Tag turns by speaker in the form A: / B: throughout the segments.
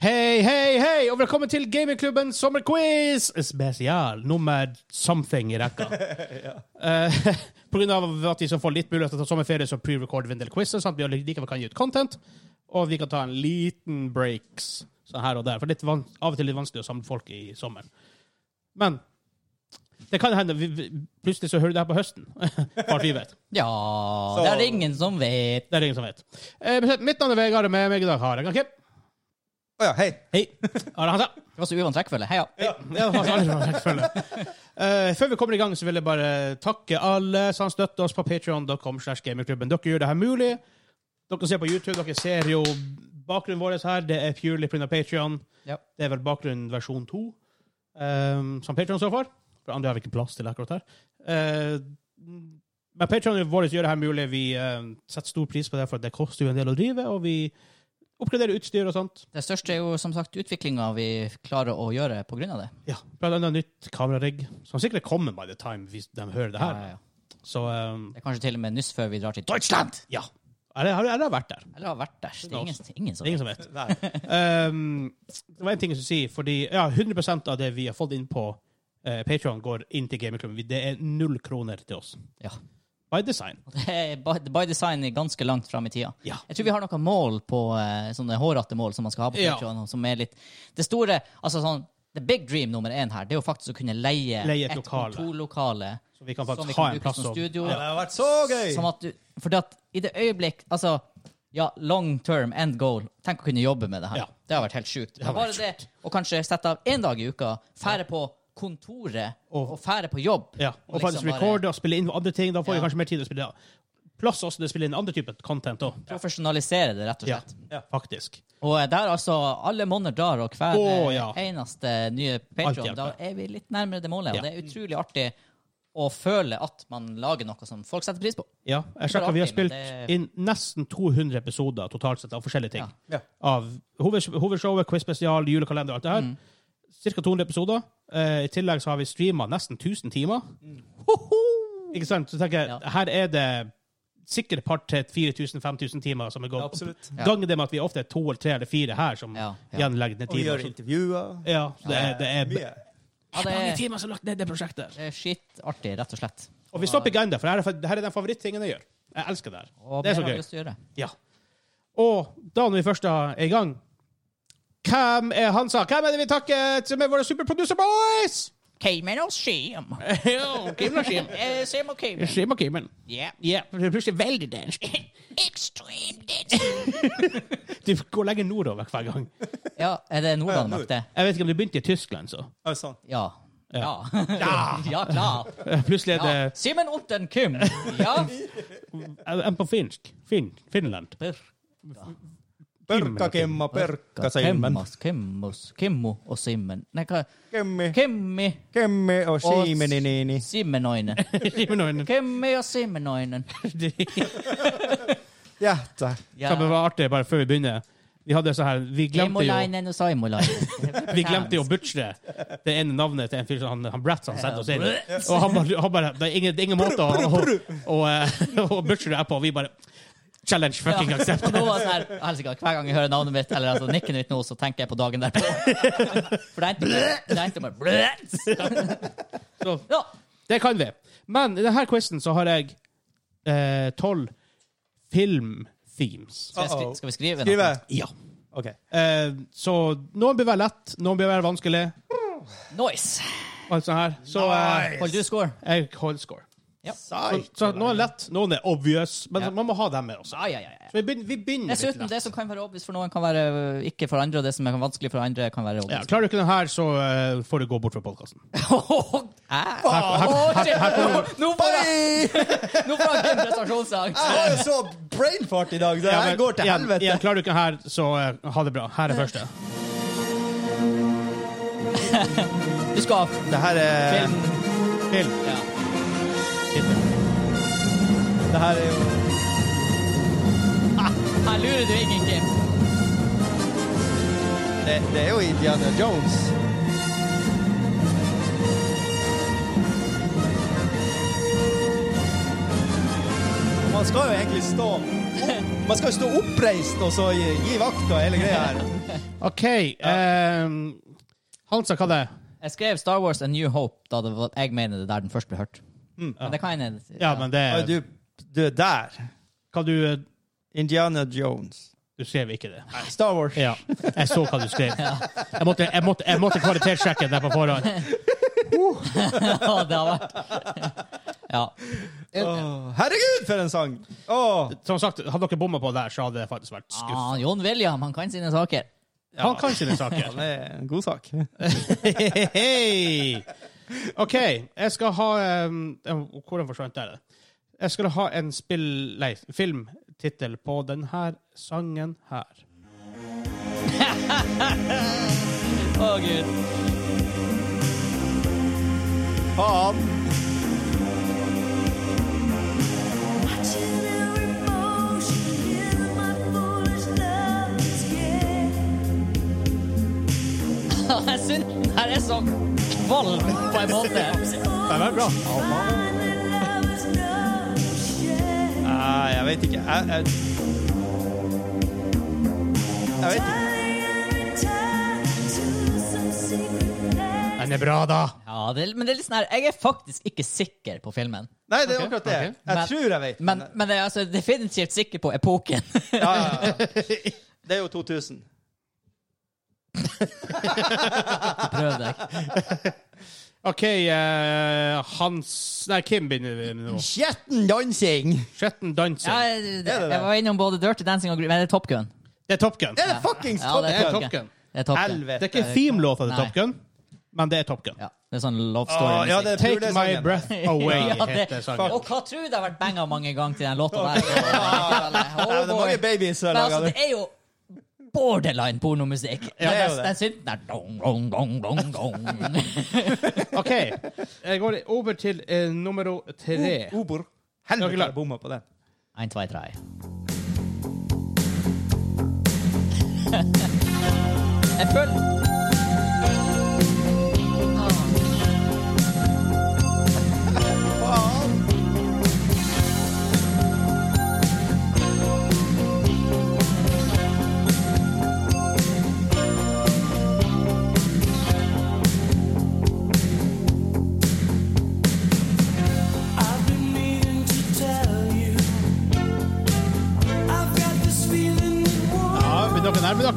A: Hei, hei, hei, og velkommen til gamingklubben sommerquiz spesial nummer something i rekka. Eh, på grunn av at vi skal få litt mulighet til å ta sommerferie, så pre-recorder vi en del quizer, sånn at vi likevel kan gi ut content, og vi kan ta en liten breaks sånn her og der, for det er litt van av og til litt vanskelig å samle folk i sommeren. Men det kan hende vi, vi, plutselig så hører du det her på høsten, for alt vi vet.
B: Ja, det er det ingen som vet.
A: Det er det ingen som vet. Eh, mitt navn er Vegard, og med meg i dag har jeg Kim.
C: Å ja, hei.
A: Hei. Are Hansa.
B: Det var så uvant rekkefølge. Heia.
A: Ja, det var alle som fikk følge. Eh, før vi kommer i gang, så vil jeg bare takke alle som støtter oss på patreon.com slash gamingklubben. Dere gjør det her mulig. Dere ser på YouTube, dere ser jo bakgrunnen vår her. Det er purely pga. Patreon.
B: Ja.
A: Det er vel bakgrunnen versjon 2, ehm, som Patreon står for. For andre har vi ikke plass til akkurat her. Eh, men Patreon vår gjør det her mulig. Vi eh, setter stor pris på det, for det koster jo en del å drive, og vi oppgraderer utstyr og sånt.
B: Det største er jo som sagt utviklinga vi klarer å gjøre på grunn av det.
A: Ja, blant annet nytt kamerarigg, som sikkert kommer by the time hvis de hører det her.
B: Ja, ja, ja.
A: Så um,
B: Det er kanskje til og med nyss før vi drar til Deutschland!
A: ja. Er det, er det- er det vært der?
B: Eller har vært der. Det er ingen, ingen
A: Det
B: som
A: er ingen
B: vet.
A: som vet.
C: Nei.
A: Um, det var en ting jeg skulle si, fordi ja, 100 av det vi har fått inn på eh, Patreon går inn til Gamerklubben. Vi- Det er null kroner til oss.
B: Ja.
A: By design.
B: Det er by, by design ganske langt fram i tida.
A: Ja.
B: Jeg tror vi har noen mål på eh, sånne hårete mål som man skal ha på
A: Ja.
B: Patreon. og Som er litt Det store Altså sånn The big dream nummer én her, det er jo faktisk å kunne leie,
A: Leie et lokale.
B: kontorlokale
A: Så vi kan
B: som Sånn vi
A: faktisk
B: kan
A: ha en
B: bruke
A: plass
B: som
A: å
B: studio.
C: Det har vært så gøy!
B: Sånn at du, fordi at i det øyeblikk Altså, ja, long term, end goal. Tenk å kunne jobbe med det her.
A: Ja.
B: Det har vært helt sjukt.
A: har
B: Men Bare
A: vært
B: det, og kanskje sette av én dag i uka, fære på kontoret
A: Og-
B: og fære på jobb.
A: ja, og faktisk
B: liksom bare-
A: recorde og spille inn andre ting. Da får vi
B: Ja.
A: kanskje mer tid til å spille. Plass også til å spille inn andre typer content òg.
B: Profesjonalisere det, rett og
A: Ja.
B: slett.
A: ja, faktisk.
B: Og der altså alle monner drar, og hver
A: Å,
B: eh,
A: ja.
B: eneste nye
A: Alt
B: Patron,
A: hjelper.
B: da er vi litt nærmere det målet.
A: Ja.
B: Og det er utrolig artig å føle at man lager noe som folk setter pris på.
A: Ja, jeg sjekket, Vi har
B: artig, men
A: spilt
B: det-
A: inn nesten 200 episoder totalt sett av forskjellige ting.
C: Ja.
A: Av hoved, hovedshowet, quiz-spesial, julekalender og alt det
B: Mm.
A: her. Cirka 200 episoder. Eh, I tillegg så har vi streama nesten 1000 timer. Hoho! Ikke sant? Så tenker jeg,
B: Mm. Ja.
A: her er det sikkert et par til 4000-5000 timer som er gått.
C: Absolutt.
B: Ja.
A: Ganger det med at vi ofte er to eller tre eller fire her som
B: Ja, ja.
A: gjenlegger ned
C: Og vi gjør
A: timer. Så,
C: intervjuer.
A: ja, så det er, det er
C: Mye.
B: Ja, det
A: mange
B: er,
A: timer som er lagt ned i det prosjektet.
B: det er skittartig, rett og slett.
A: Og vi stopper ikke ennå, for her er, her er den favorittingen jeg gjør. Jeg elsker det her.
B: Og
A: Det er
B: mer
A: så
B: har vi
A: gøy.
B: lyst til å gjøre.
A: Ja. Og da når vi først er i gang Hvem er Hansa? Hvem er det vi takker som er våre superproducer boys?
B: Cayman og Shim.
A: Jo, Kim og Kim.
B: Eh, Shim og Cayman.
A: Kim og Kimen.
B: Ja.
A: Ja, det er plutselig veldig dansk.
B: Extreme dance.
A: Du går lenger nordover hver gang.
B: Ja, er det
C: Ja, nord.
B: Nord-Danmark, det?
A: Jeg vet ikke om det begynte i Tyskland, så.
C: Ja, sånn.
B: Ja. Ja. Ja, klar.
A: Plutselig er det
B: Ja. Simen Unten Kim. Ja.
A: eh, en på finsk. Fin, Finland.
C: Perkka kemma, perkka seimen.
B: Kimmas, Kimmos, Kimmo og Simen. Nei, hva?
C: Kemmi,
B: Kimmi
C: kemmi og
B: og
C: siimeninini.
B: Simenoinen.
A: Finland.
B: Kimmi og Simenoinen.
C: Hjerte.
A: Som det var artig, bare før vi begynner. Vi hadde så her Vi glemte jo
B: Kimolainen og Saimolainen.
A: Vi glemte jo å butche det ene navnet til en fyr som han, han Bratz han sendte oss inn. Og han bare, han bare Det er ingen, det er ingen måte å, å, å, eh, å butche det her på. Vi bare Challenge fucking accept.
B: Og nå var det sånn her, helsike, Hver gang jeg hører navnet mitt eller altså, nikket mitt nå, så tenker jeg på dagen derpå. For det endte med- det endte med bløt.
A: Så
B: Ja.
A: det kan vi. Men i denne quizen så har jeg eh, tolv film-themes.
B: Skal, jeg skri-
C: Uh-oh.
B: skal vi skrive
C: Skrive.
B: noe?
A: Ja.
C: OK.
A: Eh, så noen bør være lett, noen bør være vanskelig.
B: Nice.
A: Alt sånt her. Så eh,
B: Holder du score?
A: jeg holder score. Så,
C: Sai.
A: så noen er lett, noen er obvious, men
B: Ja.
A: man må ha dem med også.
B: Ja, ja, ja. ja.
A: Så vi begynner, vi begynner litt
B: Dessuten,
A: lett.
B: det som kan være obvious for noen, kan være øh, ikke for andre, og det som er vanskelig for andre, kan være
A: Ja,
B: obvious.
A: klarer du ikke den her, så eh, får du gå bort fra podkasten.
B: Æ? Åh, shit! Nå får jeg Nå får jeg en prestasjonsangst.
C: Jeg var jo så brain fart i dag. Det her går til helvete.
A: klarer du ikke den her, så eh, ha det bra. Her er første.
B: Du skal ha
C: Det her er
B: film.
A: Eh. Film.
B: Ja.
A: Hitler.
C: Det her er jo
B: Ah, Her lurer du ingen, Kim.
C: Det, det er jo Indiana Jones. Man skal jo egentlig stå Man skal jo stå oppreist og så gi, gi vakt og hele greia her.
A: OK. ehm, Hansa, hva det er?
B: Jeg skrev Star Wars A New Hope da det var, jeg mener det der den først ble hørt. Men det kan jeg
A: Ja, men det
C: Oi,
A: er
C: du, du er der.
A: Hva du eh,
C: Indiana Jones.
A: Du skrev ikke det.
C: Star Wars.
A: Ja. Jeg så hva du skrev. Jeg måtte, jeg måtte, jeg måtte kvalitetssjekke det på forhånd.
B: Ja, det har vært Ja. Eh,
C: Åh, herregud, for en sang! Åh.
A: Som sagt, hadde dere bomma på der, så hadde det faktisk vært skuff.
B: Ah, Jon William, han kan sine saker.
A: Han kan sine saker.
C: Ja, det er en god sak.
A: Hei! OK, jeg skal ha um, Hvordan forsvant jeg det? Jeg skal ha en spill... Nei, filmtittel på denne sangen her.
B: Å, gud.
C: Faen.
B: Jeg syns den her er så kvalm på en måte.
A: Den er bra.
C: Nei, jeg vet ikke. Jeg, jeg, jeg vet ikke.
A: Den er bra, da.
B: Ja, det, er- men det er litt sånn her Jeg er faktisk ikke sikker på filmen.
C: Nei, det er
A: Ok,
C: akkurat det.
A: ok.
C: Jeg
B: Men-
C: tror jeg vet.
B: Men, men jeg er altså definitivt sikker på epoken.
C: Ja, ja, ja. Det er jo 2000.
B: Prøv deg.
A: OK, eh, Hans Nei, Kim begynner vi med nå.
C: Skjetten dansing!
A: Skjetten
B: Ja,
A: dansing.
B: det,
C: det?
B: jeg var innom både Dirty Dancing og Gru- Men det er Top Gun.
A: Det er Top Gun.
C: Er det fuckings
B: Ja, det
A: Det
B: er
A: er
B: Top
A: Top
B: Gun.
A: Gun.
B: Det er Top Gun.
C: Helvete.
A: Det er ikke filmlåta til
B: Nei.
A: Top Gun, men det er Top Gun.
B: Ja, det er sånn love
C: Åh,
B: story.
C: ja, det er
A: Take
C: pulesangen.
A: My Breath Away
B: Ja, det-
A: heter sangen.
B: Og hva tror du det har vært banga mange ganger til den låta der?
C: Nei,
B: Oh,
C: det er mange
B: boy.
C: babies som
B: Men
C: har
B: altså,
C: laga
B: det
C: det.
B: er jo borderline pornomusikk.
C: Ja, det er jo
B: Den- Den synten der dong, dong, dong, dong, dong.
A: OK. Jeg går over til eh, nummer tre.
B: Oh,
C: O- Obor.
A: Jeg er
C: Helvete,
A: glad.
C: jeg bomma på den.
B: Ein, zwei, drei. Jeg føler
C: Faen.
D: I've been meaning to tell you I've got this feeling it won't
A: Ja, vil dere nærme dere?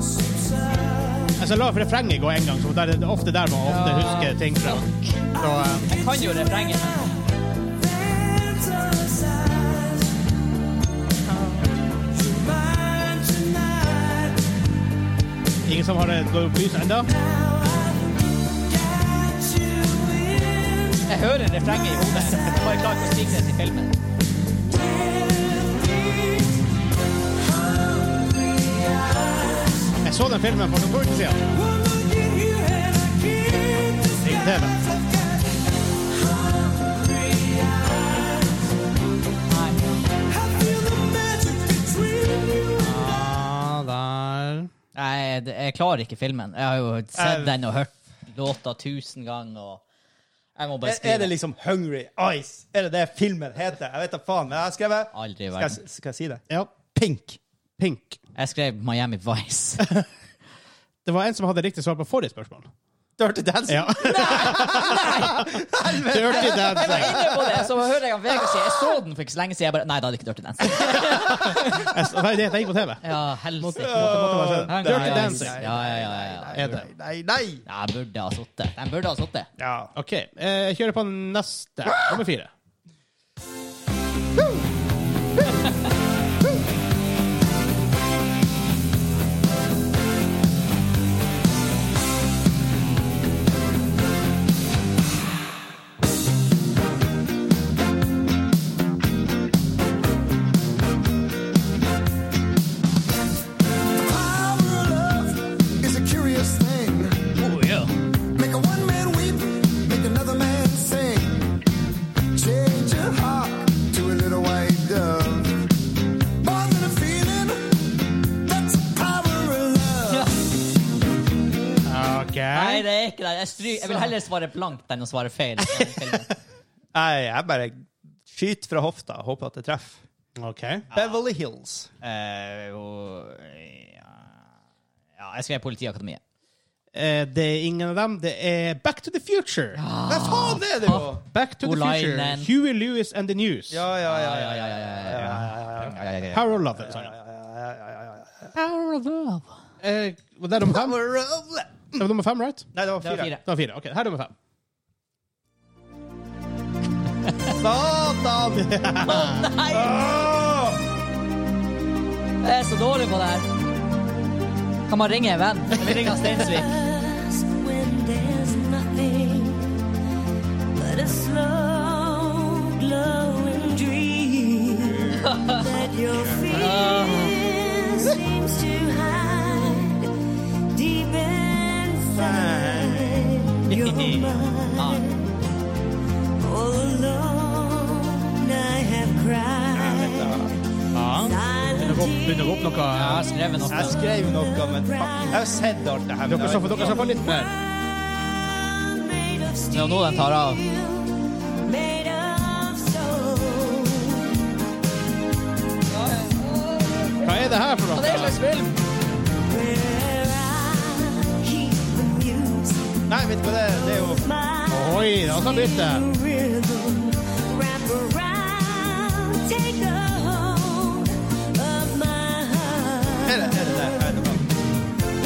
D: subside.
A: Jeg skal Altså, la refrenget gå en gang, så det er ofte der man ofte husker ting fra. Så, eh,
B: Jeg kan jo refrenget.
D: Fantasize. You're mine tonight.
A: ingen som har eh, gått opp lys ennå?
D: Now I've got you in.
B: Jeg hører refrenget i hodet. Jeg var klar for å stikke det til filmen.
A: Jeg så den filmen for noen uker siden.
B: Nei.
A: Ja, der.
B: Nei, det- jeg klarer ikke filmen. Jeg har jo sett den og hørt låta tusen ganger. Og jeg må bare
C: Er, er det
B: skrive.
C: liksom Hungry Eyes? Er det det filmen heter? Jeg vet da faen. Men jeg har skrevet
B: Aldri i
C: skal, jeg-
B: verden.
C: skal jeg si det?
A: Ja.
C: Pink.
A: Pink.
B: Jeg skrev Miami Vice.
A: Det var en som hadde riktig svar på forrige spørsmål.
C: Dirty Dancing.
A: Ja. Dirty
B: Jeg var
A: Dancing.
B: inne på det, så hører jeg han Vegard si Jeg så den for ikke så lenge siden. Jeg bare Nei, da hadde jeg ikke Dirty Dance.
A: Jeg s- Nei, det det gikk på TV.
B: Ja, helsike.
C: Nei,
A: Dirty
C: nei,
A: Dancing.
C: nei,
B: Ja, ja, ja, ja, ja.
C: Nei,
A: Er det?
C: nei, nei.
B: Ja, Jeg burde ha sittet. Den burde ha sittet.
C: Ja.
A: OK, eh, jeg kjører på neste. Nummer fire. Oh, yeah. OK.
B: Nei, det er ikke det. Jeg, stry, jeg vil heller svare blankt enn å svare feil. i den filmen.
C: Nei, jeg bare skyter fra hofta og håper at det treffer.
A: OK.
C: Beverly Hills.
B: Eh, jo, ja. Ja, jeg skrev Politiakademiet.
A: Eh, det er ingen av dem. Det er Back to the Future.
C: Hva faen er
B: ah.
C: det jo?
A: Back to the Future.
B: Olainen.
A: Huey Lewis and the News.
C: Ja, ja, ja.
B: Ja,
C: ja,
B: ja,
C: ja.
B: ja, ja, ja, ja, ja, ja.
A: Power of Love. sorry.
B: Power of love.
A: Eh, og det er nummer fem.
C: Power of love.
A: Det var nummer fem, right?
C: Nei, det
B: Det
C: var
B: var
C: fire.
B: fire.
A: Det var fire. Ok, her er nummer fem.
C: Satan!
B: Nei,
C: Åh!
B: jeg er så dårlig på det her. Kan man ringe en venn? Kan vi ringe Steinsvik?
D: Us when there's nothing but a slow glowing dream that your fear seems to hide deep inside your mind. All alone, I have cried.
A: Begynner
D: Silent
A: å gå- Begynner å gå
D: tears.
A: opp noe.
B: Jeg har skrevet noe.
C: Jeg skrev noe, men fuck. Jeg har sett alt det her. men
A: Dere
C: jeg
A: skal, få-
C: vet
A: dere skal få litt mer.
D: Made of
B: Det er jo nå den tar av.
D: steel, made of soul.
A: Hva er det her for
B: Det er en
A: noe?
B: slags film!
D: Where I keep the music,
C: ikke. Nei, vet du hva det er? Det er jo
D: my
A: Oi, det var sånn lite.
D: rhythm. Wrap around, take a hold of my heart.
C: Er det er det det? Er det det?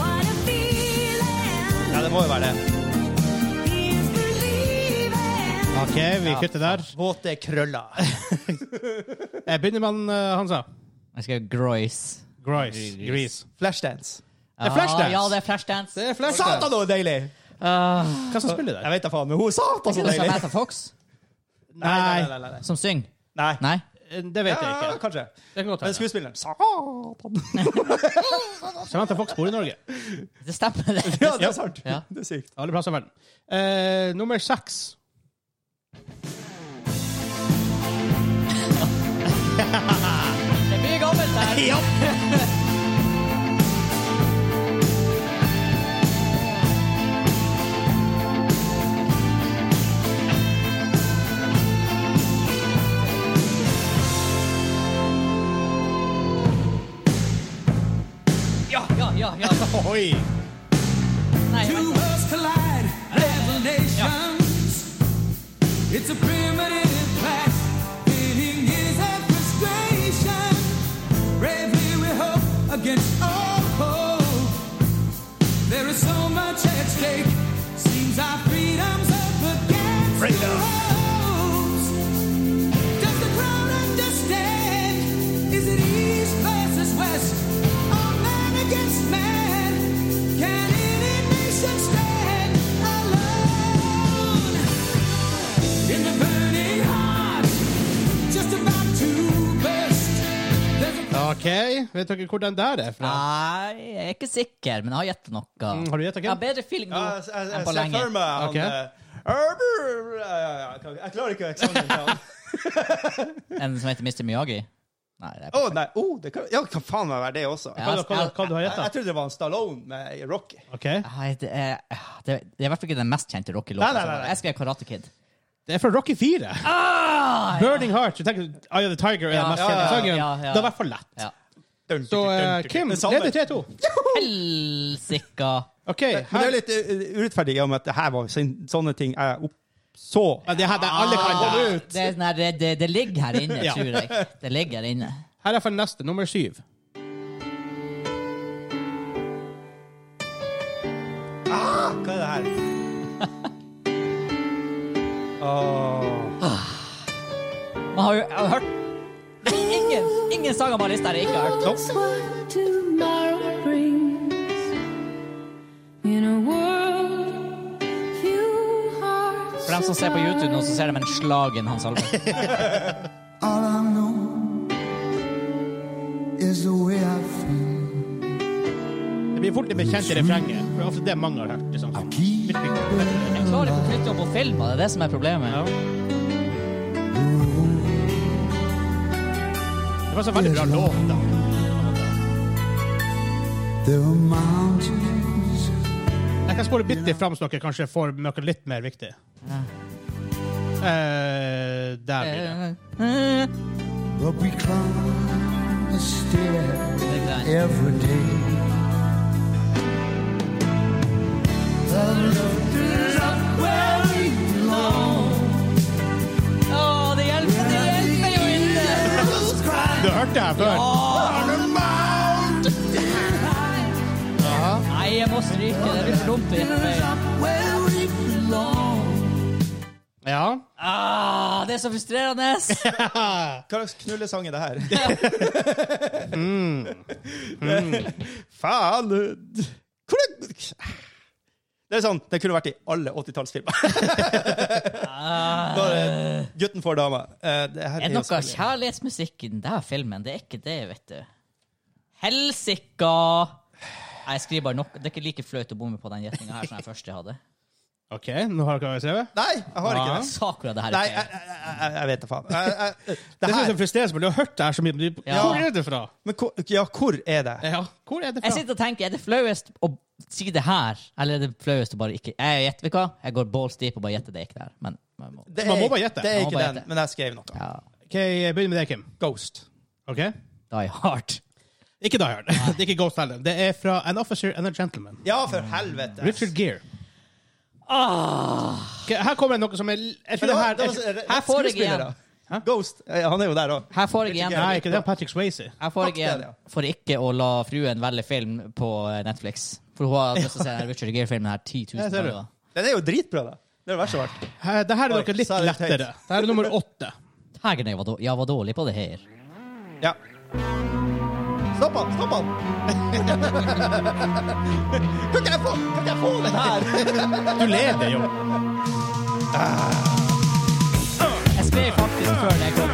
D: What a feeling.
C: Ja, det må jo være det.
D: Here's believing.
A: OK, vi kutter der.
C: Våte krøller.
A: Eh, Begynner man, eh, Hansa?
B: Jeg skrev Groyce.
A: Grice. Grease.
C: Flashdance.
A: Det er Flashdance.
B: Ja, det er Flashdance.
A: Det er flash
C: Satan,
A: dance.
C: så deilig!
B: Uh,
A: Hva som spiller
C: Jeg
A: der?
C: vet da faen, men hun satan så
B: det er
C: deilig!
B: Samantha Fox
C: Nei, nei, nei. nei, nei.
B: som synger.
C: nei.
B: Nei?
A: Eh, Det vet jeg
C: Ja,
A: ikke.
C: kanskje.
A: Det kan godt
C: Men
A: hende.
C: skuespilleren Satan!
A: Samantha Fox bor i Norge.
B: Det stemmer, det.
C: Ja, det er sant.
B: Ja.
C: Det er sykt.
A: Alle plasser i verden. Eh, nummer seks.
B: Det blir gammelt her.
C: Ja.
B: Ja, ja, ja. ja.
A: Oi!
B: Nei,
E: Two worlds collide, revelations. It's a primitive clash, fitting years of frustration. Bravely we hope against all hope. There is so much at stake. Seems our freedom's up against
C: Freedom.
E: the ropes. Does the crowd understand? Is it East versus West? Or man against man? Can any nation stand alone? In the burning heart, just about to burst. There's a
A: OK, vet dere hvor den der er
C: Ah,
A: fra?
B: Nei, jeg er ikke sikker, men jeg har gjettet noe.
A: Mm, har du gjettet, Kim?
B: Jeg har bedre feeling nå
C: Ja, jeg- jeg-
B: enn
C: jeg
B: på
C: ser
B: lenge.
C: for meg han
A: Ok.
C: eh, Arber- ja, ja, ja, jeg kan- Jeg klarer ikke eksamen. til han.
B: En som heter Mr. Miyagi. Nei, det er
C: Å, nei. Oh, det kan, ja, det kan faen meg være det også.
B: Ja.
A: Hva, hva, hva, hva du har
C: Jeg, jeg
A: gjetta?
C: trodde det var en Stallone med Rocky.
A: OK.
B: Nei, det er, det, er, det er i hvert fall ikke den mest kjente
C: Nei, nei, nei,
B: rocky-låta.
C: nei.
B: Jeg skrev Karate Kid.
A: Det er fra Rocky 4.
B: Ah, ja.
A: Burning Heart. Du tenker Eye of the Tiger er den mest
B: ja,
A: kjente
B: ja,
A: sangen.
B: ja, ja.
A: Det er i hvert fall lett.
B: Ja.
C: Dun,
A: Så
C: dun,
A: eh,
C: dun, dun,
A: Kim
C: dun. Det samme.
A: leder 3-2.
B: Helsika.
A: OK.
C: Men det er
A: Her,
C: litt eh, urettferdig i og med at det her var sin- sånne ting jeg opp så
A: Ja, det her, det er alle
C: Ah,
A: kan det her.
B: Det, er sånn her- det, det, det ligger her inne,
A: Ja.
B: tror jeg. Det ligger her inne.
A: Her er for neste, nummer syv.
C: Hva er det her? Ah. Åh.
B: Man har jo jeg har hørt Det er ingen, ingen sanger på lista her jeg ikke har hørt.
D: That's what tomorrow brings. In a world few hearts
B: For dem som ser på YouTube nå, så ser de en slagen Hans Albert.
E: All I know is the way I feel.
A: Det blir fort litt bekjent i refrenget. For altså, det er ofte det mange har hørt. Liksom.
E: Keep
B: Jeg klarer ikke å knytte opp på filmer, det er det som er problemet.
A: Ja. Det var så veldig bra låt, da.
E: There are mountains
A: Jeg kan spole bitte fram så dere kanskje får noe litt mer viktig. Eh, der blir det.
B: Det
E: But we climb the stair
B: er greit.
E: every day.
A: hørt det her før.
B: Nei, jeg må stryke. Det blir for dumt å gjette feil.
A: Ja.
B: Ah, det er så frustrerende!
C: Hva slags knullesang er det her? Faen! du. Hvordan Det er sånn, det kunne vært i alle 80-tallsfilmer.
A: Ah.
C: Bare gutten får dama. Eh, Det her
B: Er det
C: jo
B: noe
C: selvfølgelig-
B: kjærlighetsmusikk i den der filmen? Det er ikke det, vet du. Helsika! Nei, Jeg skriver bare nok. Det er ikke like flaut å bomme på den gjetninga her som jeg først hadde.
A: OK, nå har dere skrevet.
C: Nei, jeg har ikke det.
B: Sakura, det her
C: Nei,
B: er
C: jeg,
B: feil.
C: jeg, jeg- jeg vet da faen. Jeg- jeg-
A: Ah. Det sånn
C: Det
A: synes
C: her,
A: jeg frustrerer meg. Du har hørt det her så mye. men du-
B: Ja.
A: Hvor er det fra?
C: men hvor, ja, hvor er det?
A: Ja, hvor er det
B: Jeg
A: fra?
B: sitter og tenker, er det flauest å si det her, eller er det flauest å bare ikke Jeg gjetter, vet du hva? Jeg går balls deep og bare gjetter det ikke der. Men man må.
C: det
A: Man må
C: ikke-
A: bare gjette.
C: Det er
B: Man må
C: ikke
B: bare
C: den,
B: gjette.
C: men jeg skrev noe.
B: Ja,
A: Ok, Begynn med deg, Kim.
C: Ghost.
A: Ok?
B: Die Hard.
A: Ikke Die Hard. Det er ikke Ghost heller. Det er fra An Officer and a Gentleman.
C: Ja, for helvete.
A: Richard Gere.
B: Ah.
A: Ok, her kommer det noe som er jeg tror det
C: Men da-
A: her,
C: da-
A: jeg,
C: da-
B: her får jeg
C: skuespillere. Ghost. eh, Han er jo der òg.
B: Her får jeg igjen,
A: Nei, ikke det. Patrick Swayze.
B: her får
C: Fuck
B: jeg igjen
C: det,
B: for ikke å la fruen velge film på eh, Netflix. For hun har lyst til å se den Richard Gere-filmen her 10
A: Ja,
B: 000
A: ser du.
B: ganger.
C: Den er jo dritbra, da. Det er det verste av alt.
A: Her- Det her er
C: Oi,
A: noe litt
C: sa det høyt.
A: lettere. Det her er nummer åtte.
B: Herregud, jeg var, då jeg var dårlig på det her.
C: Ja. Stopp han! Stopp han! kan ikke jeg få, kan ikke jeg få den her?
A: Du leder jo.
B: Jeg skrev faktisk før det kom.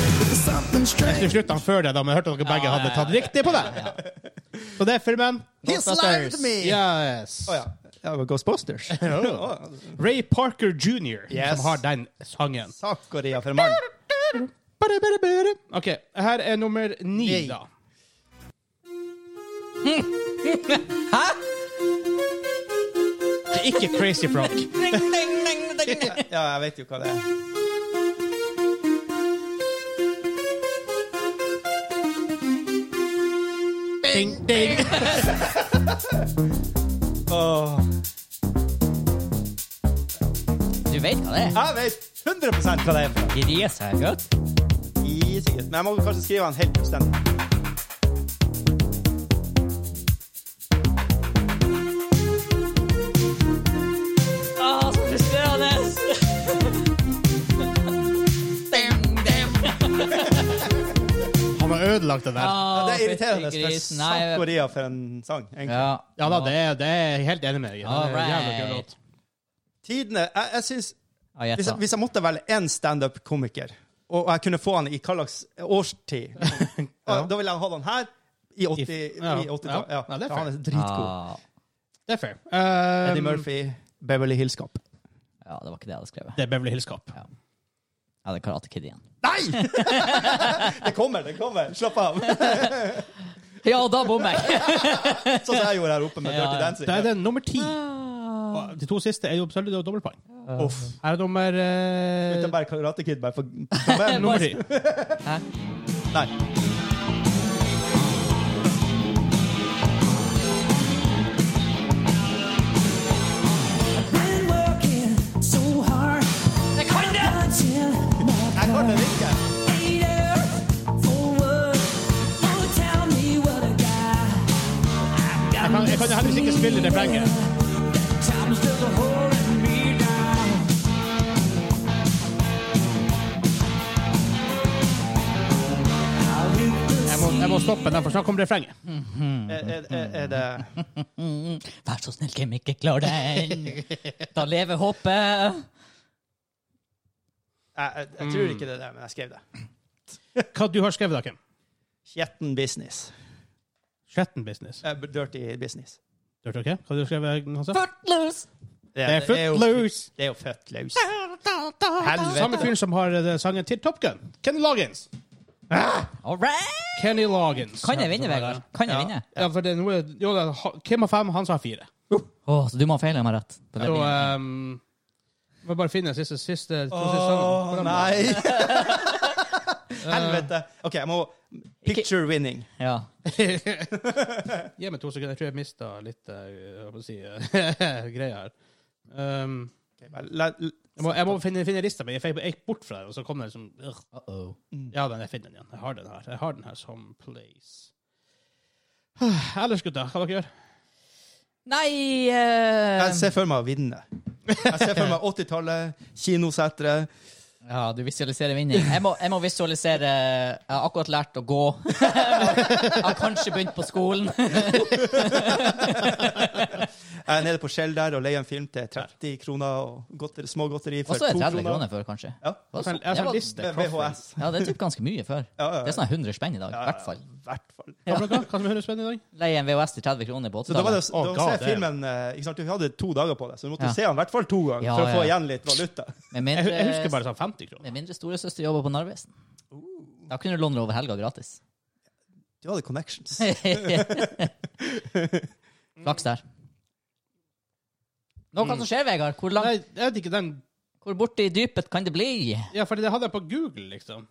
A: Til slutt han før deg, da, men jeg hørte at dere begge
B: Ja, ja,
A: hadde
B: ja.
A: tatt riktig på det. Så det er filmen.
C: He's lying to me!
A: Yes.
C: Å ja. ja men Ghostbusters. Å,
A: Ray Parker jr.,
C: Yes.
A: som har den sangen.
C: Sakaria for mann.
A: Bare, bare, bare. OK, her er nummer ni,
C: Yay.
A: da.
B: Hæ?
A: Det er ikke Crazy Frog.
B: Ding, ding, ding, ding.
C: Ja, jeg vet jo hva det er.
A: Ding, ding.
C: Åh.
B: Du vet hva det er?
C: Jeg vet 100 hva det er. for.
B: Gidde seg godt.
C: Easy, gutt. Men jeg må kanskje skrive han helt fullstendig.
B: Ah, så frustrerende!
A: Han har ødelagt det der.
B: Ah,
C: det er irriterende
B: fytti
C: for
B: grisen. Nei,
C: Sakaria for en sang. egentlig.
B: Ja.
A: Ja da, det er, det er jeg helt enig med deg i. Det er en Jævla kul låt.
B: Alright.
C: Tidene Jeg, jeg synes,
B: Ja, gjett
C: hvis,
B: da.
C: jeg- hvis jeg måtte velge én standup-komiker, og jeg kunne få han i hva slags årstid ja. Da ville jeg hatt han her i 80
A: I-
C: i
A: ja.
C: 80 ja.
A: Ja, det er
C: han er
A: fair.
C: dritgod.
B: Ah,
A: Det er fair. Um,
C: Eddie Murphy, Beverly Hills Cop.
B: ja, det var ikke det jeg hadde skrevet.
A: Det er Beverly Hills Cop.
B: Jeg hadde Karate Kid igjen.
C: Nei! det kommer, det kommer. Slapp av.
B: Ja, da bommer jeg!
C: Sånn som jeg gjorde her oppe med
B: Ja,
C: Dirty
B: ja.
C: Dancing.
A: Da er det nummer ti.
C: Ah.
A: Og De to siste er jo absolutt dobbeltpoeng.
C: Uff.
A: Her er nummer eh,
C: Uten bare Karate Kid, bare for for hvem?
A: nummer ti.
C: Nei.
B: Jeg kan det!
C: Jeg kan den ikke.
A: Jeg kan, jeg kan heldigvis ikke spille refrenget. Jeg må, jeg må stoppe den, for snart kommer refrenget.
C: Er, er, er, er det
B: Vær så snill, Kim, ikke klar den! Da lever håpet.
C: jeg, jeg, jeg tror ikke det er det, men jeg skrev det.
A: Hva du har skrevet, da, Kim?
C: Kjetten business.
A: Skjetten business.
C: Eh, dirty business.
A: Hørte dere? Hva du har skrevet, Hansa?
B: Footloose!
A: Det er Footloose.
C: Det er jo Footloose.
A: Samme
C: Helvete.
A: fyren som har eh, sangen til Top Gun. Kenny Loggins.
B: Alright!
A: Kenny Loggins.
B: Kan jeg vinne, Vegard? Kan jeg vinne?
A: Ja, for det er noe, jo, det er ha- Kim har fem, han sa fire.
B: Åh, så du må ha feil om jeg har rett. Det
A: Så
B: blir-
A: um, Må bare finne siste, siste, to siste
C: Å
A: sangen.
C: nei!
A: Eh,
B: Eh.
C: Helvete. OK, jeg må Picture winning.
B: Ja.
A: Gi meg to sekunder. Jeg tror jeg mista litt eh, hva skal jeg si, eh, greia her. Um,
C: Ok, bare la- l-
A: jeg, må, jeg må finne, finne lista mi. Jeg fe- jeg gikk bort fra den, og så kom den som ugh. Mm.
B: Uh-oh.
A: Ja, men jeg finner den igjen. Jeg har den her. Jeg har den her som place. Ellers, gutta, hva dere gjør
B: Nei eh,
C: Jeg ser for meg å vinne. Jeg ser for meg 80-tallet, kinosetre.
B: Ja, du visualiserer vinning. Jeg må, jeg må visualisere Jeg har akkurat lært å gå. Jeg har kanskje begynt på skolen.
C: Jeg er nede på Shell der og leier en film til 30 kroner og godteri, smågodteri
B: Og
C: for
B: så er
C: 2
B: det 30
C: kroner.
B: kroner før, kanskje. Hva
C: Ja.
A: Jeg har
B: så-
A: en- Jeg
B: det
A: har en
B: var-
A: liste.
C: B-
A: Crossfade.
C: VHS.
B: Ja, det er typ ganske mye før.
C: Ja, ja, ja.
B: Det er sånn 100 spenn i dag, i hvert fall.
C: I hvert fall.
A: Hva for noe? Hva som er 100 spenn i dag?
B: Leie en VHS til 30 kroner på
C: Så da var det
B: 80-tallet.
C: da
A: Å, god
C: se
A: damn.
C: filmen eh, ikke sant? Du hadde to dager på deg, så du måtte
B: Ja.
C: se den i hvert fall to ganger
B: Ja,
C: for å få
B: ja.
C: igjen litt valuta.
B: Med
A: Jeg, hu- jeg husker
B: mindre,
A: bare sånn 50 kroner.
B: med mindre storesøster jobber på Narvesen. Da kunne du låne det over helga gratis.
C: Du hadde connections.
B: Flaks der. Nå hva som skjer, Vegard? Hvor,
A: Nei,
B: langt,
A: jeg vet ikke den
B: hvor borte i dypet kan det bli?
A: Ja, fordi det hadde jeg på Google, liksom.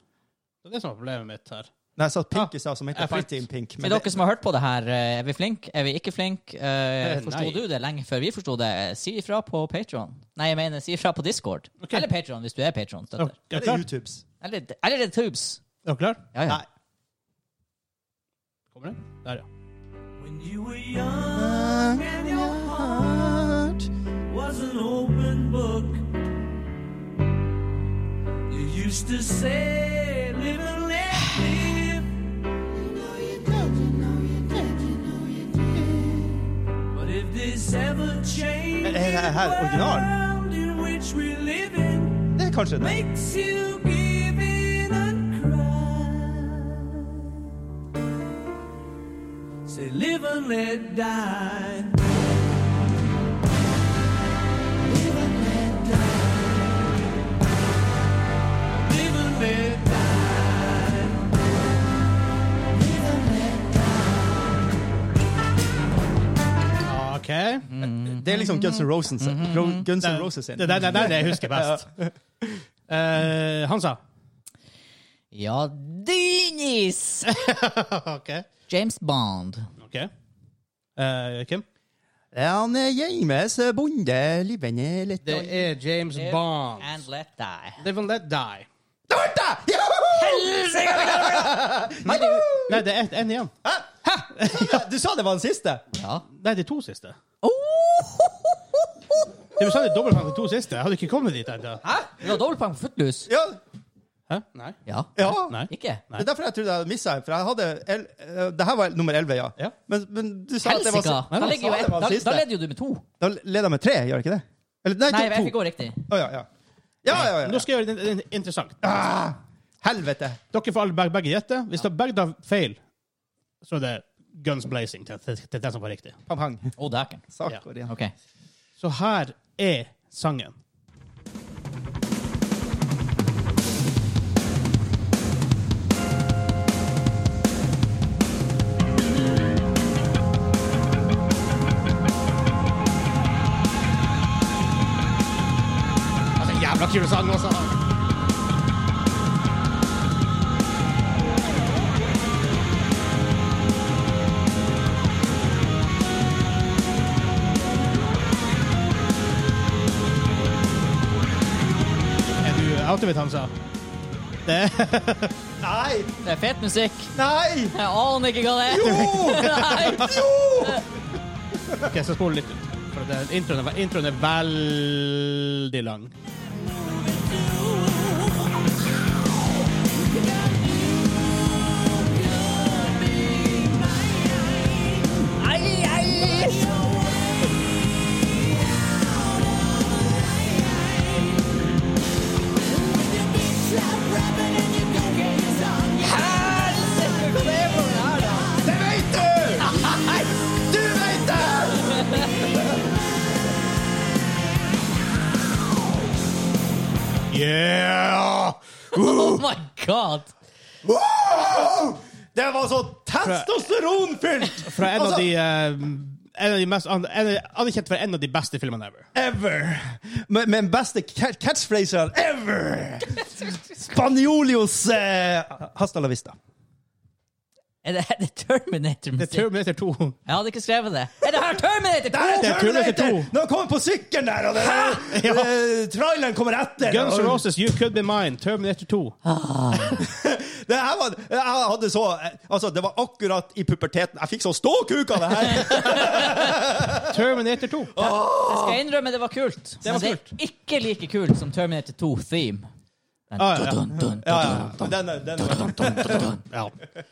A: Det er det som er problemet mitt her.
C: Nei, jeg sa Pink i stad, som heter
A: Jeg fant-
C: Fighting Pink.
B: Til
C: Men
B: dere som har hørt på det her, eh, er vi flinke? Er vi ikke flinke?
A: Eh,
B: Forsto
A: nei.
B: du det lenge før vi forsto det? Eh, Si ifra på Patron. Nei, jeg mener si ifra på Discord.
A: Ok.
B: Eller Patron, hvis du er Patron.
A: Er
B: støtter
A: dere
C: det er
A: klar?
C: YouTubes.
B: Eller, eller det er Tubes.
A: Er dere klar?
B: Ja, ja.
C: Nei.
A: Kommer den? Der, ja.
D: When you were young and your heart was an open book, you used to say, Live and let live. But if this ever changing
C: Eh, eh, her, original.
D: world in which we live in
C: Det er kanskje det.
D: makes you give in and cry. Say, live and let die. Live and let die. Live and let die. Live and let die.
A: OK.
C: Det er liksom Guns N' Roses.
B: Mhm.
C: Ro Guns N' Roses sin.
A: Det er det, det jeg husker best. Eh, Hansa.
B: Ja, Dinis!
A: OK.
B: James Bond.
A: Ok. Eh, Kim?
C: Han er James Bonde, livet er litt
A: Det er James Bond.
B: And let die.
A: Live and let die.
C: Nei, du-
A: Nei, det er ett- en igjen.
C: du sa det var den siste!
B: Ja.
A: Nei, det er to siste. Det er bestandig dobbeltpoeng til to siste. Jeg hadde ikke kommet dit ennå.
B: Du har dobbeltpoeng på Footloose.
C: Ja,
A: Hæ? Nei.
B: Ja.
C: ja.
A: Nei.
B: Ikke?
C: Det er derfor jeg trodde jeg hadde missa en. For jeg hadde el eh, det her var nummer 11, ja.
A: Ja.
C: Men, men du sa at det var
B: Helsika!
C: si-
B: Da,
C: du
B: ligger jo
C: sa det
B: et-
C: var
B: da,
C: den siste.
B: da leder jo du med to.
C: Da leder jeg med tre, gjør jeg ikke det? Eller, nei,
B: Nei,
C: to-
B: jeg fikk
C: to.
B: gå riktig.
C: Å, ja, ja. Ja, ja, ja,
A: Nå
C: ja.
A: skal jeg gjøre det in- interessant.
C: Helvete.
A: Dere får alle begge, begge gjette. Hvis dere begge tar feil, så er det guns blazing til, til, til den som var riktig.
C: Pang, pang.
B: Å, dæken.
C: Sak
A: Ja.
C: går igjen.
B: OK.
A: Så her er sangen. Altså, jævla kul sang, altså! Er du out of it, Hansa?
C: Nei!
B: Det er fet musikk.
C: Nei!
B: Jeg aner ikke hva det er. Nei.
A: Ok, så spol litt ut. For det, introen, er, introen er veldig lang.
C: Det vet du! Du vet det!
A: Yeah!
B: Oh my god!
C: Wow! Det var så testosteronfylt!
A: Fra en av
C: Altså-
A: de eh, en av de mest, an- en, av- anerkjent for en av de beste filmene ever.
C: Ever. Med, med den beste ca- catchphrasen ever! Spanjolios eh, Hasta la vista.
B: Er det, er det Terminator-musikk?
A: Det er Terminator 2.
B: Jeg hadde ikke skrevet det. Er det her Terminator?
C: Der er
A: Det er Terminator
C: Terminator!
A: 2.
C: Når han kommer på sykkelen der, og det, eh, traileren kommer etter
A: Guns N'
C: og-
A: Roses, You Could Be Mine, Terminator 2.
C: Det her var, jeg hadde så Altså, det var akkurat i puberteten. Jeg fikk så ståkuk av det her!
A: Terminator 2.
B: Jeg skal innrømme det var kult.
C: Det var
B: men det er ikke like kult som Terminator 2-theme.
A: Ah, ja, ja.
C: Ja, ja. Men Den, er- den, var-
A: Ja.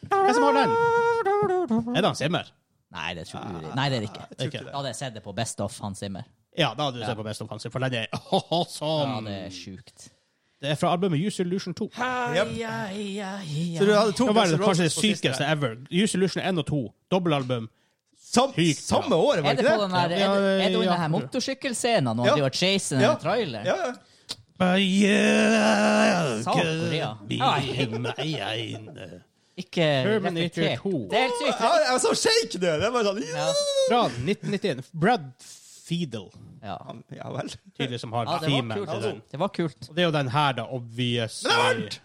A: Hvem som har den? Er det han Simmer?
B: Nei, det tror
C: Ah,
B: jeg Nei, det er det ikke.
A: tror ikke det.
B: Jeg hadde sett det på Best of Hans Zimmer.
A: Ja, da hadde du sett på Best of Cancer, for den er
B: Ja,
A: awesome.
B: det er sjukt.
A: Det er fra albumet Use Illusion 2.
C: Jep.
B: Så
C: Så du hadde to
A: Det var
C: Guns N' Roses
A: kanskje det
C: på siste.
A: sykeste ever. Use Illusion 1 og 2. Dobbeltalbum.
C: Sam,
A: Sykt, ja.
C: samme året, var
B: Er det
C: ikke
B: på
C: det?
B: den her, er
A: Ja,
B: det, er det
A: ja.
B: den her motorsykkelscenen når
C: Ja.
B: han driver og chaser
C: Ja.
B: en trailer?
C: Ja, ja.
B: Korea. Ikke
A: Terminator
B: reflektert.
A: 2.
B: Det er helt sykt.
C: Ja, Jeg så shake det! Det var sånn
B: Ja.
A: Fra 1991. Brad Fiedel,
B: Ja.
C: Ja vel.
A: tydelig som har
B: ja, det var
A: teamet
B: kult. altså.
A: til den.
B: Det var kult.
A: Det er jo den her, da, obvious.
C: Men det er varmt!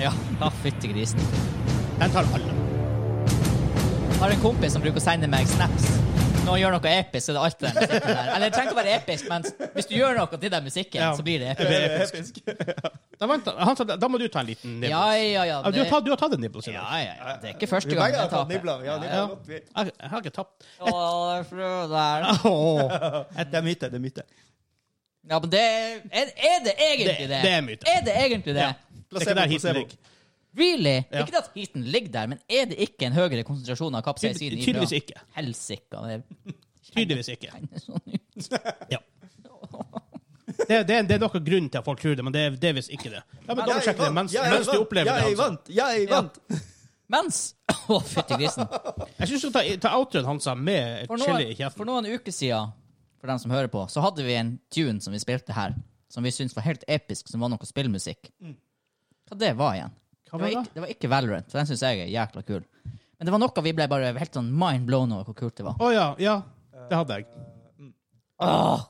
B: Ja, da fytti grisen.
A: Den tar alle.
B: Jeg har en kompis som bruker å sende meg snaps. Når han gjør noe episk, så er det alltid den musikken der. Eller det trenger ikke å være episk, men hvis du gjør noe til den musikken,
A: Ja.
B: så blir det
A: Det
B: episk.
A: er episk.
C: Episk.
A: Da, vent, da. han, sa, da må du ta en liten nibbles.
B: Ja, ja, ja.
A: Ah, du, har tatt, du har tatt en nibbles i
B: ja,
A: dag.
B: ja, ja. Det er ikke første
C: Vi
B: gang
C: begge har
B: jeg
C: tatt
B: taper.
C: nibla. Ja, nibla
A: Ja.
C: godt, vi.
A: Jeg, jeg har ikke tapt.
B: Å, fru der.
A: Åh.
C: Det er myte, det er myte.
B: Ja, men det er, er det egentlig
A: Det-
B: det?
A: det er myte.
B: Er det egentlig det?
A: Ja. Det er ikke der heaten
C: Placebo,
A: ligger.
B: Really?
A: Ja.
B: Ikke at heaten ligger der, men er det ikke en høyere konsentrasjon av
A: Tydel-
B: kapsaisin i brød?
A: tydeligvis ikke.
B: Helsika. Det
A: Tydeligvis ikke.
B: er sånn ut.
A: Ja. Det, det, det er noe grunn til at folk tror det, men det er, det er visst ikke det. Ja, men da
C: Ja,
A: må du
C: jeg
A: sjekke det
C: vant.
A: mens,
C: Ja, jeg
A: mens du
C: vant.
A: opplever
C: Ja,
A: det. altså.
C: jeg
A: Hansa.
C: vant! Ja, jeg
B: Ja.
C: vant!
B: Mens Å, fytti grisen.
A: Jeg syns du skal ta, ta outroen hans med
B: For
A: chili i
B: noen, for
A: kjeften.
B: noen uker siden, for dem som hører på, så hadde vi en tune som vi spilte her, som vi syntes var helt episk, som var noe spillmusikk. Hva det var igjen?
A: Mm. Hva var
B: det, var
A: det?
B: ikke, det var ikke Valorant, for den syns jeg er jækla kul. Men det var noe vi ble bare helt sånn mind blown over hvor kult det var.
A: Å ja, ja. Det hadde jeg.
B: Når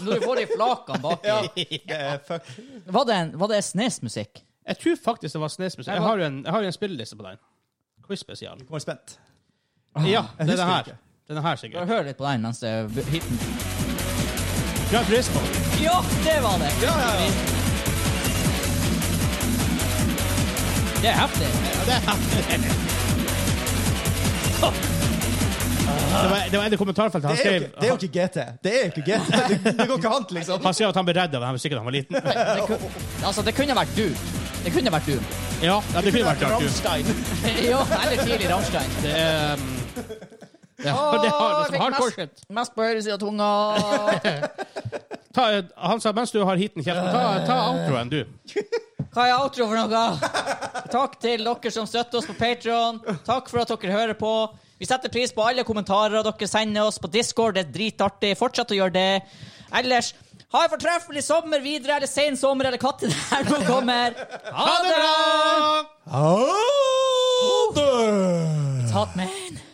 B: du får de flakene baki.
C: Det er fuck.
B: Var det, en- var det Snes-musikk?
A: Jeg tror faktisk det var Snesmusikk. Jeg har jo en, jeg har jo en spilleliste på den. Quiz spesial.
C: Kommer spent.
A: Ja, det er den
C: Ah, husker
A: her.
C: ikke. Ah.
A: Den er her,
B: Bare
A: sikkert.
B: hør litt på den mens det er hiten.
A: Gran Turismo.
B: Ja, det var det!
C: Ja, ja, ja.
B: Det er heftig.
A: Det var, det var en i kommentarfeltet. Han
C: Det er jo
A: skrev
C: ikke- det er jo ikke GT. Det er jo ikke GT. Det, det går ikke an, liksom.
A: han skrev at han ble redd av den musikken da han var liten.
B: Altså, det kunne vært du. Det kunne vært du.
A: Ja, ja det kunne vært klart. du.
C: Rammstein.
B: ja, eller tidlig Rammstein.
A: Det er um, ja, det har, det er som hardcore shit.
B: mest, mest på høyre side av tunga.
A: Ta, han sa mens du har heaten i kjeften, ta, ta outroen, du.
B: Hva er outro for noe? Takk til dere som støtter oss på Patron. Takk for at dere hører på. Vi setter pris på alle kommentarer dere sender oss på Discord. Det er dritartig. Fortsett å gjøre det. Ellers, ha en fortreffelig sommer videre, eller sen sommer, eller katten der nå kommer. Ha det bra!
C: 아, Ha det! 네.
B: Tatman.